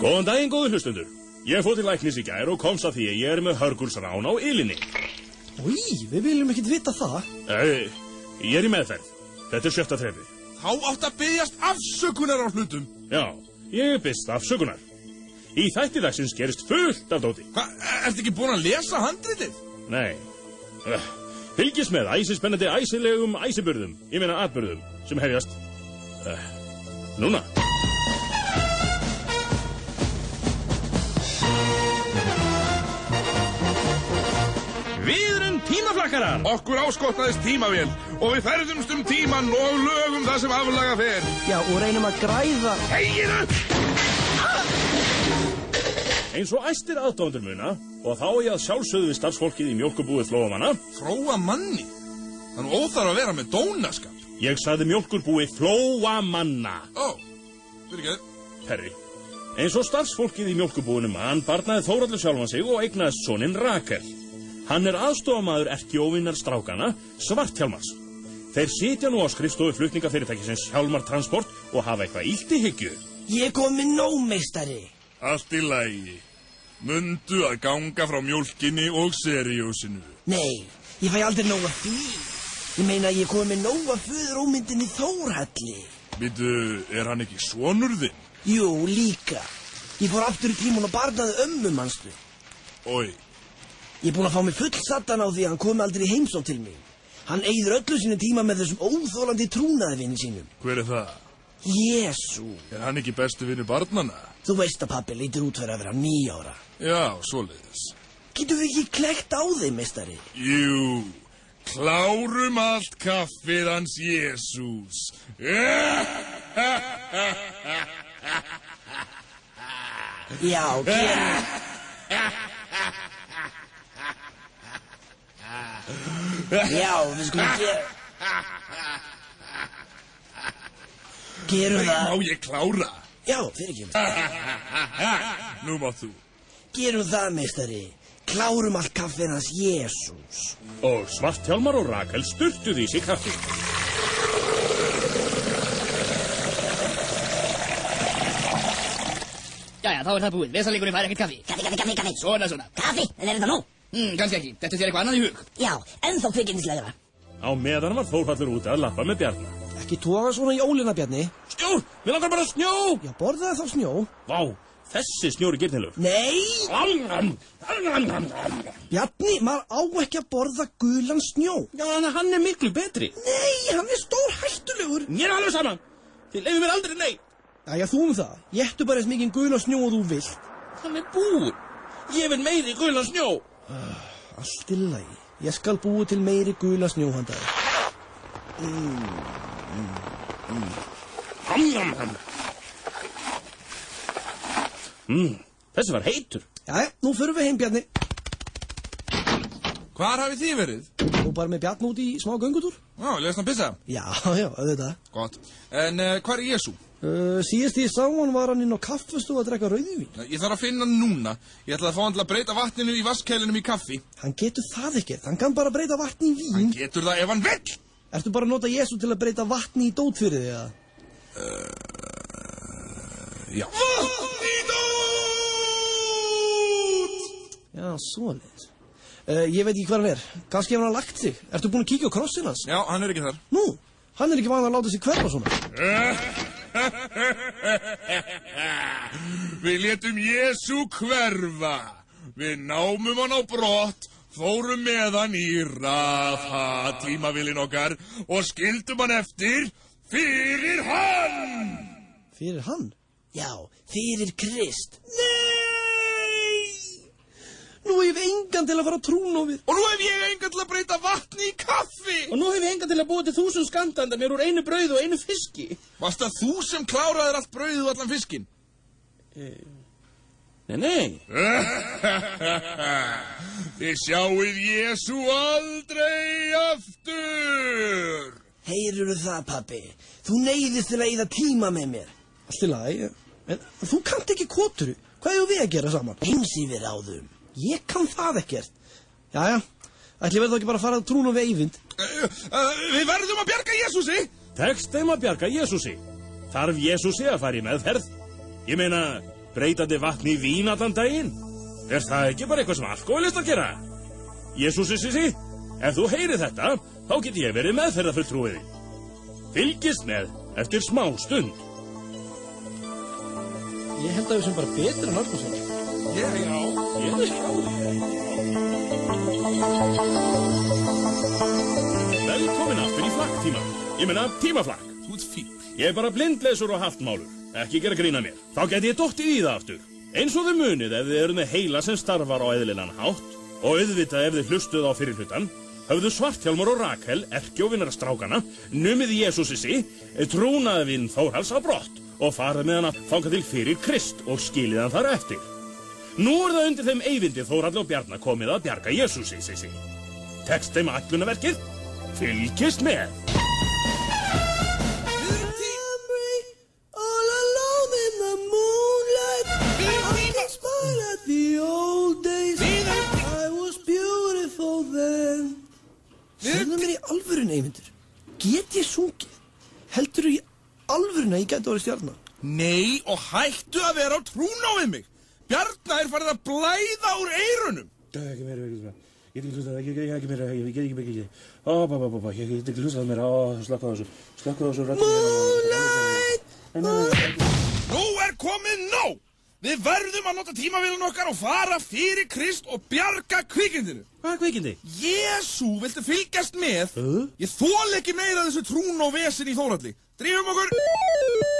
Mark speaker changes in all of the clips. Speaker 1: Góðan daginn, góðu hlustundur. Ég fór til læknis í gær og komst að því að ég er með hörgulsrán á ylinni.
Speaker 2: Í, við viljum ekkert vita það.
Speaker 1: Ei, Eh, ég er í meðferð. Þetta er sjöfta þrefi.
Speaker 3: Þá átt að byggjast afsökunar á hlutum.
Speaker 1: Já, ég byrst afsökunar. Í þætti dagsins gerist fullt af dóti.
Speaker 3: Hva, ertu ekki búin að lesa handritið?
Speaker 1: Nei. Uh, fylgis með æsispennandi æsilegum æsiburðum, ég meina atburðum, sem hefjast. Uh, núna. Viðrun tímaflakkaran!
Speaker 3: Okkur áskotnaðist tímavél og við ferðumst um tíman og lögum það sem aflaga fer.
Speaker 2: Já, og reynum að græða.
Speaker 3: Hegið upp!
Speaker 1: Eins og æstir aðdóndur muna, og þá er ég að sjálfsögðu við starfsfólkið í mjólkubúið flóamanna,
Speaker 3: Fróa manni. Þannig óþarf að vera með dónaskap.
Speaker 1: ég sagði mjólkurbúið flóamanna.
Speaker 3: Ó, fyrir ekki
Speaker 1: Herri, eins og starfsfólkið í mjölkubúinu mann barnaði Þóraldur sjálfan sig og eignaðist soninn Rakel. Hann er aðstofamaður erkjóvinnar strákana Svarthjálmars. Þeir sitja nú á skrifstofu flutningafyrirtækisins Hjálmar Transport og hafa eitthvað illt í hyggju.
Speaker 2: Ég kom með nómeistari.
Speaker 3: Allt í lægi. Mundu að ganga frá mjólkinni og seriósinu.
Speaker 2: Nei, ég fæ aldrei nóga því. Ég meina, ég kom með nóga föðurómyndin í Þórhalli.
Speaker 3: Býtu, er hann ekki svonur þinn?
Speaker 2: Jú, líka. Ég fór aftur í tímun og barnaði ömmu, manstu.
Speaker 3: Ói,
Speaker 2: Ég er búin að fá mig full satan á því að hann komi aldrei í heimsókn til mín. Hann eigður öllu sínu tíma með þessum óþólandi trúnaðvinni sínum.
Speaker 3: hver er það?
Speaker 2: Jésu,
Speaker 3: Er hann ekki bestu vinnu barnana?
Speaker 2: þú veist að pappi lítur út fyrir að vera nýja ára.
Speaker 3: Já, svoleiðis.
Speaker 2: Getum við ekki klekt á þeim, meistari?
Speaker 3: Jú, klárum allt kaffið hans Eh, Jésús.
Speaker 2: Já, gerum. Já, við skulum gera... Gerum
Speaker 3: Má
Speaker 2: það...
Speaker 3: ég klára?
Speaker 2: Já, fyrir ekki.
Speaker 3: Nú má þú.
Speaker 2: Gerum það, meistari. Klárum allt kaffin hans Jésús.
Speaker 1: Og Svarthjálmar og Rakel styrtuði í sig kaffi.
Speaker 4: Jæja, þá er það búið. Vesalegurinn fær ekkert kaffi.
Speaker 5: Kaffi, kaffi, kaffi, kaffi.
Speaker 4: Svona, svona.
Speaker 5: Kaffi, en er þetta nú?
Speaker 4: Hmm, kannski ekki. Þetta þér eitthvað annað í hug.
Speaker 5: Já, ennþá kvikindislegra.
Speaker 1: Á meðan var Þórfallur úti að lappa með Bjarnar.
Speaker 2: Ekki toga svona í ólina, Bjarni.
Speaker 1: Snjór! Við langar bara snjó!
Speaker 2: Já, borðaði þá snjó.
Speaker 1: Vá, þessi snjóri girnilur.
Speaker 2: Nei,
Speaker 1: Já,
Speaker 2: Bjarni, maður á ekki að borða gulan snjó.
Speaker 1: en hann er miklu betri.
Speaker 2: Nei, hann er stór hættulegur.
Speaker 1: Mér er alveg saman. Þið leiðum mér aldrei nei.
Speaker 2: Æja, þú um það. Ég ættu bara eins mikið gulan snjó og þú vilt.
Speaker 1: Hann er búinn. Ég vil meiri gulan snjó.
Speaker 2: Ah, Allt í lagi. Ég skal búi til meiri gula snjóhandari.
Speaker 1: Ham, ham, ham. Mm, þessi var heitur.
Speaker 2: Jæja, nú förum við heim, Bjarni.
Speaker 3: Hvar hafið þið verið?
Speaker 2: Nú bara með Bjarni út í smá göngutúr.
Speaker 3: Já, lesna pissa.
Speaker 2: Já, já, auðvitað.
Speaker 3: Gott. En uh, hvað er Jésú?
Speaker 2: Uh, síðast ég sá hann var hann inn á kaffastofu að drekka rauðvín.
Speaker 3: Ég þarf að finna hann núna. Ég ætla að fá hann til að breyta vatninu í vaskælinum í kaffi.
Speaker 2: Hann getur það ekkert, hann kann bara breyta vatni í vín.
Speaker 3: Hann getur það ef hann vill.
Speaker 2: Ertu bara að nota Jésu til að breyta vatni í dót fyrir því að?
Speaker 3: Já. Vatn í dót!
Speaker 2: Já, svoleiðis. Uh, ég veit ekki hvað hann er. Ganski hefur hann lagt sig. Ertu búin að kíkja á krossin hans?
Speaker 3: Já, hann er ekki þar.
Speaker 2: Nú, hann er ekki vanað að láta sig hverfa svona.
Speaker 3: Við letum Jésu hverfa. Við námum hann á brott, fórum með hann í rafa tímavilin okkar og skildum hann eftir fyrir hann!
Speaker 2: Fyrir hann? Já, fyrir Krist. Nei! Nú hef engan til að fara að trúna á við.
Speaker 3: Og nú hef ég engan til að breyta vatni í kaffi!
Speaker 6: Og nú hef ég enga til að búa til þúsund skandanda mér úr einu brauð og einu fiski.
Speaker 3: Varst það þú sem kláraðir allt brauðið og allan fiskinn?
Speaker 6: Eh, Nei, nei.
Speaker 3: Þið sjáuð Jésu aldrei aftur!
Speaker 2: Heyrur það, pappi? Þú neyðist til að eða tíma með mér. Allt í lagi, en þú kannt ekki koturu. Hvað hefur við að gera saman? Heims yfir áðum. Ég kann það ekkert. Jæja, ætli verður þá ekki bara að fara að trúna við eyvind.
Speaker 3: Uh, uh, við verðum að bjarga Jésúsi!
Speaker 1: Tekst þeim að bjarga Jésúsi. Þarf Jésúsi að fara í meðferð? Ég meina, breytandi vatni í vín allan daginn? Er það ekki bara eitthvað sem alkoholistar gera? Jésús, sí, sí, ef þú heyrir þetta, þá get ég verið meðferðarfulltrúiði. Fylgist með eftir smá stund.
Speaker 2: Ég held að við sem bara betri en Árnason.
Speaker 3: Ég, já.
Speaker 1: Ég er hjá þér. Velkomin aftur í flakktíma. Ég meina tímaflakk.
Speaker 3: Þú ert fín.
Speaker 1: Ég er bara blindleysur og haftmálur. Ekki gera grína mér. Þá geti ég dottið í það aftur. Eins og þið munið ef þið eru með heila sem starfar á eðlilegan hátt og auðvitað ef þið hlustuð á fyrir hlutan, höfðu Svarthjálmur og Rakel, erkjóvinar strákana, numið Jésúsissi, trúnaðvinn Þórhals á brott og farið með hann að fanga til fyrir Krist og skilið hann þar eftir. Nú er það undir þeim eyvindi Þórhall og Bjarna komið að bjarga Jésúsissi. Tekst þeim allunarverkið? Fylgist með!
Speaker 2: All alone in the moonlight I can smile at the old days I was beautiful then Segðu mér í alvörun, Eyvindur Get ég sungið? Heldur í alvörun að ég gæti orðið stjarnar?
Speaker 3: Nei, og hættu að vera á trúna við mig. Bjarnar er farið að blæða úr eyrunum.
Speaker 7: Það er ekki meira, ekki meira. Ég get ekki hlustað, ég get ekki meira, ég get ekki meira, ég get ekki meira. Ó, bá, bá, bá, bá, ég get ekki hlustað meira, ó, slakka á þessu, slakka á þessu, rættu Moonlight!
Speaker 3: Nú er komið nóg! Við verðum að nota tímavílun okkar og fara fyrir Krist og bjarga kvikindinu.
Speaker 1: Hvað er kveikindi?
Speaker 3: Jesú, viltu fylgjast með? Ég þól ekki meira af þessu trún og vesin í Þóralli. Drífum okkur!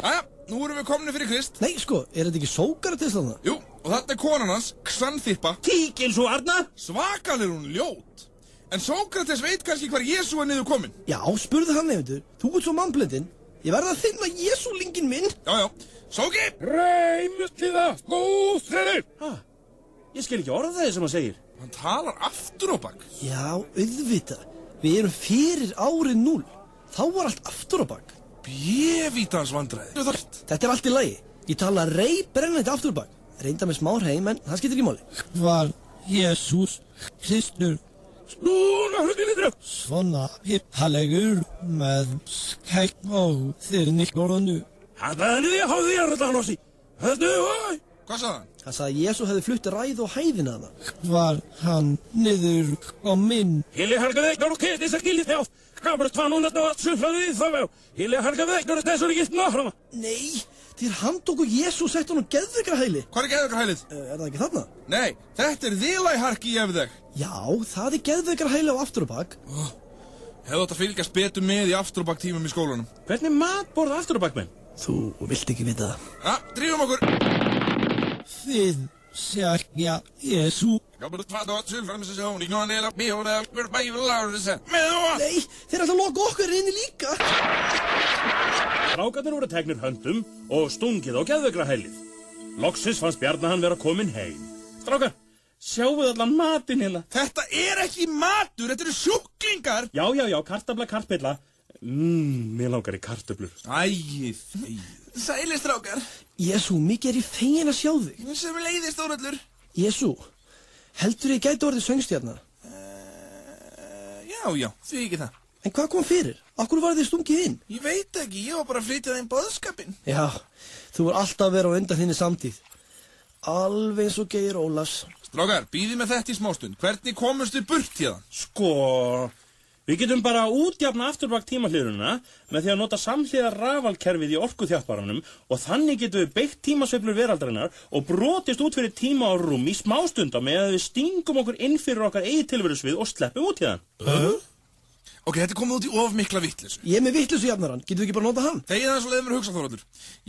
Speaker 3: Æja, nú erum við komni fyrir Krist.
Speaker 2: Nei, sko, er þetta ekki sókara til þarna?
Speaker 3: Jú, og þetta er konan hans, Xanthippa.
Speaker 1: Tíkil svo, Arna!
Speaker 3: Svakal er hún ljót. En Sókrates veit kannski hvar Jesú er niður kominn.
Speaker 2: Já, spurðu hann, Eyvindur Þú ert svo mannblendin Ég verða að finna Jésúlingin minn
Speaker 3: Já, já. Sóki!
Speaker 7: Reymustliða, skúsreri!
Speaker 1: Ég skil ekki orða þeir sem hann segir.
Speaker 3: Hann talar aftur á bakk.
Speaker 2: Já, auðvitað Við erum fyrir árið 0 Þá var allt aftur á bak
Speaker 3: Bjevítans vandræði. Þart.
Speaker 2: Þetta er allt í lagi. Ég tala rey brennandi afturbak. Reynda með smá rey, menn það skiptir ekki máli.
Speaker 8: var Jésús Kristur
Speaker 7: Núna, hluti litra!
Speaker 8: svona hippalegur með skæk og þyrnikornu.
Speaker 7: Hannaðinni því að háði því að rætta hann á sí. Hættu, hæ!
Speaker 3: Hvað sagði hann?
Speaker 2: Það sagði að Jésu hefði flutt ræð og hæðina hana.
Speaker 8: Var hann niður kominn
Speaker 7: Hili helga vegnar og keti sem gildi þjáð. Gamur tannun þetta var sumflaðið í það vegá. Hili helga vegnar og þessur ekki náfram.
Speaker 2: Nei, þeir handtóku Jésu og sett hann á geðvika hæli.
Speaker 3: Hvað er geðveikra hælið?
Speaker 2: Eh, Er það ekki þarna?
Speaker 3: Nei, þetta er þilægharki ef þeg.
Speaker 2: Já, það er geðvika hæli á afturbak.
Speaker 3: Hefðu átt að fylgjast betur með í afturbakk tímum í skólanum.
Speaker 1: Hvernig mat borða afturabakmenn?
Speaker 2: Þú vilt ekki vita það.
Speaker 3: Ja, drífum okkur.
Speaker 8: þið sérkja Jésú.
Speaker 3: Gamur tvað og sülfram sem sjón, í knóðan eða bjóða eða hver bæfur láður þess að með og að.
Speaker 2: Nei, þeir ætla að loka okkur inni líka.
Speaker 1: Strákarnir voru tegnir höndum og stungið á geðvegra hælið. Loksins fannst Bjarnar hann vera kominn heim. Strákar,
Speaker 6: Sjáuð allan matinn hérna.
Speaker 3: Þetta er ekki matur, þetta eru sjúklingar.
Speaker 1: já, já, já, kartabla, kartbilla. Mmm, mér langar í kartöblur.
Speaker 3: Æi, þegi. Sæli strákar,
Speaker 2: Jésu, mikið er ég fegin að sjá þig.
Speaker 3: sem leiðist þórallur.
Speaker 2: Jésu, heldur ég gæti orðið söngstjarnar?
Speaker 3: Eh, Já, já, því ekki það.
Speaker 2: En hvað kom fyrir? Akkur var þið stungið inn?
Speaker 3: Ég veit ekki, ég var bara að flytja þeim boðskapin.
Speaker 2: Já, þú er alltaf að vera á undan þinni samtíð. Alveg eins og Geir Ólafs.
Speaker 3: Strákar, býði með þetta í smástund. Hvernig komust þið burt hérna?
Speaker 1: Sko, við getum bara útjafna afturbak tímahlýruna með því að nota samhliða rafalkerfið í orkuþjáttbaranum og þannig getum við beitt tímasveiflur veraldarinnar og brotist út fyrir tíma og rúm í smástunda með að við stingum okkur inn fyrir okkar eigið tilverusvið og sleppum út í þann.
Speaker 3: Ok, þetta er komið út í of mikla vittlis.
Speaker 2: Ég er með vittlusu jafnarann, getur við ekki bara nota hann?
Speaker 3: Þegið það svo leiðum við hugsa Þóraldur.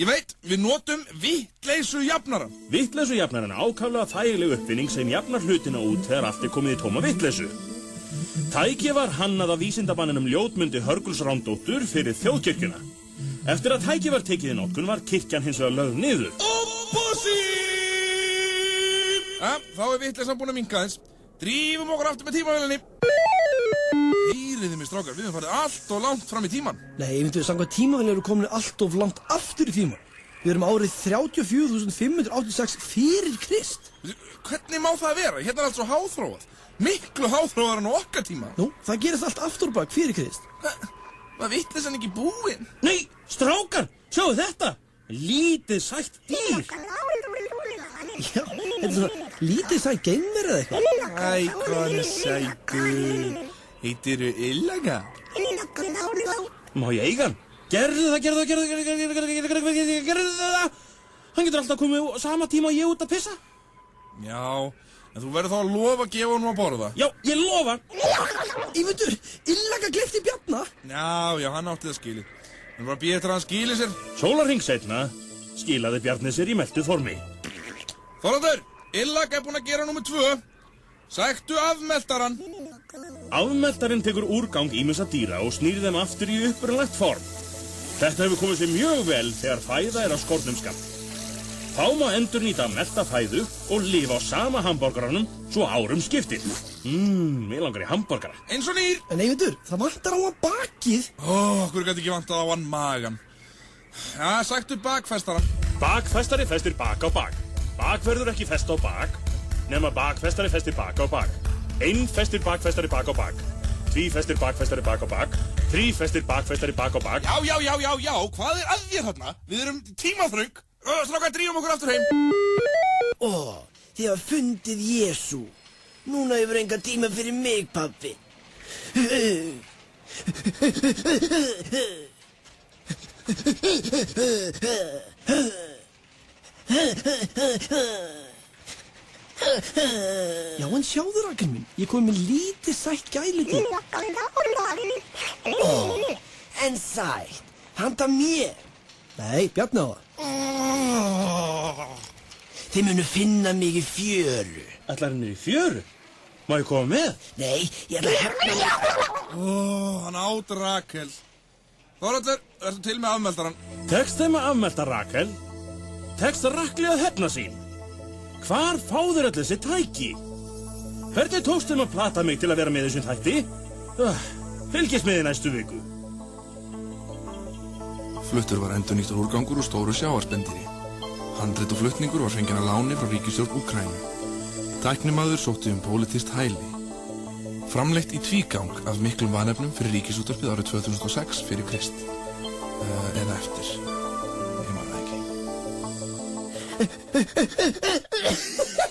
Speaker 3: Ég veit, við notum vittleysu jafnaran.
Speaker 1: Vittleysu jafnar en ákaflega þægileg uppfinning sem jafnar hlutina út þegar allt er komið í tóma vittleysu. Tæki var hannað af vísindamanninum ljótmundi Hörguls Rándóttur fyrir þjóðkirkjuna. Eftir að tæki var tekið í nótkun var kirkjan hins vegar lögð niður.
Speaker 3: Ombossi! Ja, þá er vittleysan búin að minka þess. Drífum okkur aftur með tímavélinni. Hýriði mig strákar, við höfum farið allt og langt fram í tíman.
Speaker 2: Nei, ég myndi að sanga tímavel eru komin allt of langt aftur í tíman. Við erum árið 34.586 fyrir Krist.
Speaker 3: Veitu, Hvernig má það vera? Hérna er allt svo háþróað. Miklu háþróðar en á okkar tíma.
Speaker 2: Nú, það gerist allt aftur á bak fyrir Krist.
Speaker 3: Var vittleysan ekki búin?
Speaker 1: Nei, strákar, sjáu þetta! Lítið sætt dýr!
Speaker 2: Já, þetta er svona lítið sæ geimverið eða eitthvað.
Speaker 3: Æ, hvað er sætu Heitiru Illaga?
Speaker 1: Má ég eiga hann?
Speaker 9: Gerðu það, gerðu það, gerðu það, gerðu það, gerðu það, gerðu það, gerðu það, gerðu það. Hann getur alltaf komið á sama tíma og ég út að pissa.
Speaker 3: Já, en þú verður þá að lofa að gefa honum að borða
Speaker 9: Já, ég lofa.
Speaker 2: Ímundur, illaga glifti bjarna.
Speaker 3: Já, já, hann átti það skilið Við erum bara að býja eftir að hann skili sér
Speaker 1: Sólarring setna skilaði Bjarni sér í meldu formi.
Speaker 3: Þorvaldur, Illaga er búinn að gera nummer tvö Sæktu afmeldaran
Speaker 1: Afmeldarinn tekur úrgang ímessa dýra og snýr þeim aftur í upprunlegt form. Þetta hefur komið sér mjög vel þegar fæða er á skornum skamt. Þá má endur nýta melta fæðu og lifa á sama hambúrgaranum svo árum skiptir. Mmm, mér langar í hambúrgara.
Speaker 3: Eins og nýr
Speaker 2: En Ímundur, það vantar á að bakið.
Speaker 3: Ó, hverju gæti ekki vantað á hann magan Já, sæktu bakfestaran
Speaker 1: Bakfestari festir bak á bak. Bak verður ekki fest á bak, nema bakfestari festir bak á bak. Einn festir bakfestari bak á bak. Tví festir bakfestari bak á bak. Þrí festir bakfestari bak á bak.
Speaker 3: Já, já, já, já, já, hvað er að þér þarna? Við erum tímaþröng Stráka, drífum okkur aftur heim
Speaker 2: Ó, þið hafa fundið Jésu. Núna hefur enga tíma fyrir mig, pappi. Já, en sjáðu rakan minn. Ég kom með lítið sætt gæliti. Ó, en sætt. Handa mér. Nei, Bjarni á það. Þið munu finna mig í fjöru.
Speaker 10: Ætlar hann er í fjöru? Má ég koma með?
Speaker 2: Nei, ég ætla að hefna mig.
Speaker 3: Ó, hann át Rakel Þorvaldur, verður til með afmeldaran
Speaker 1: Tekst þeim að afmelta Rakel? Tekst Rakli að hefna sín? Hvar fáður öll þessi tæki? Hvernig tókst þeim að plata mig til að vera með þessum þætti? Uh, fylgist með þið næstu viku.
Speaker 11: Fluttur var endur nýttur úrgangur úr stóru sjáarspendiri. Handrit og flutningur var fengið að láni frá ríkistjórn Úkrænu. Tæknimaður sótti um politist hæli. Framleitt í tvígang af miklum vanefnum fyrir ríkisúttarpið árið 2006 fyrir Krist. Uh, eða eftir. Ég man það ekki.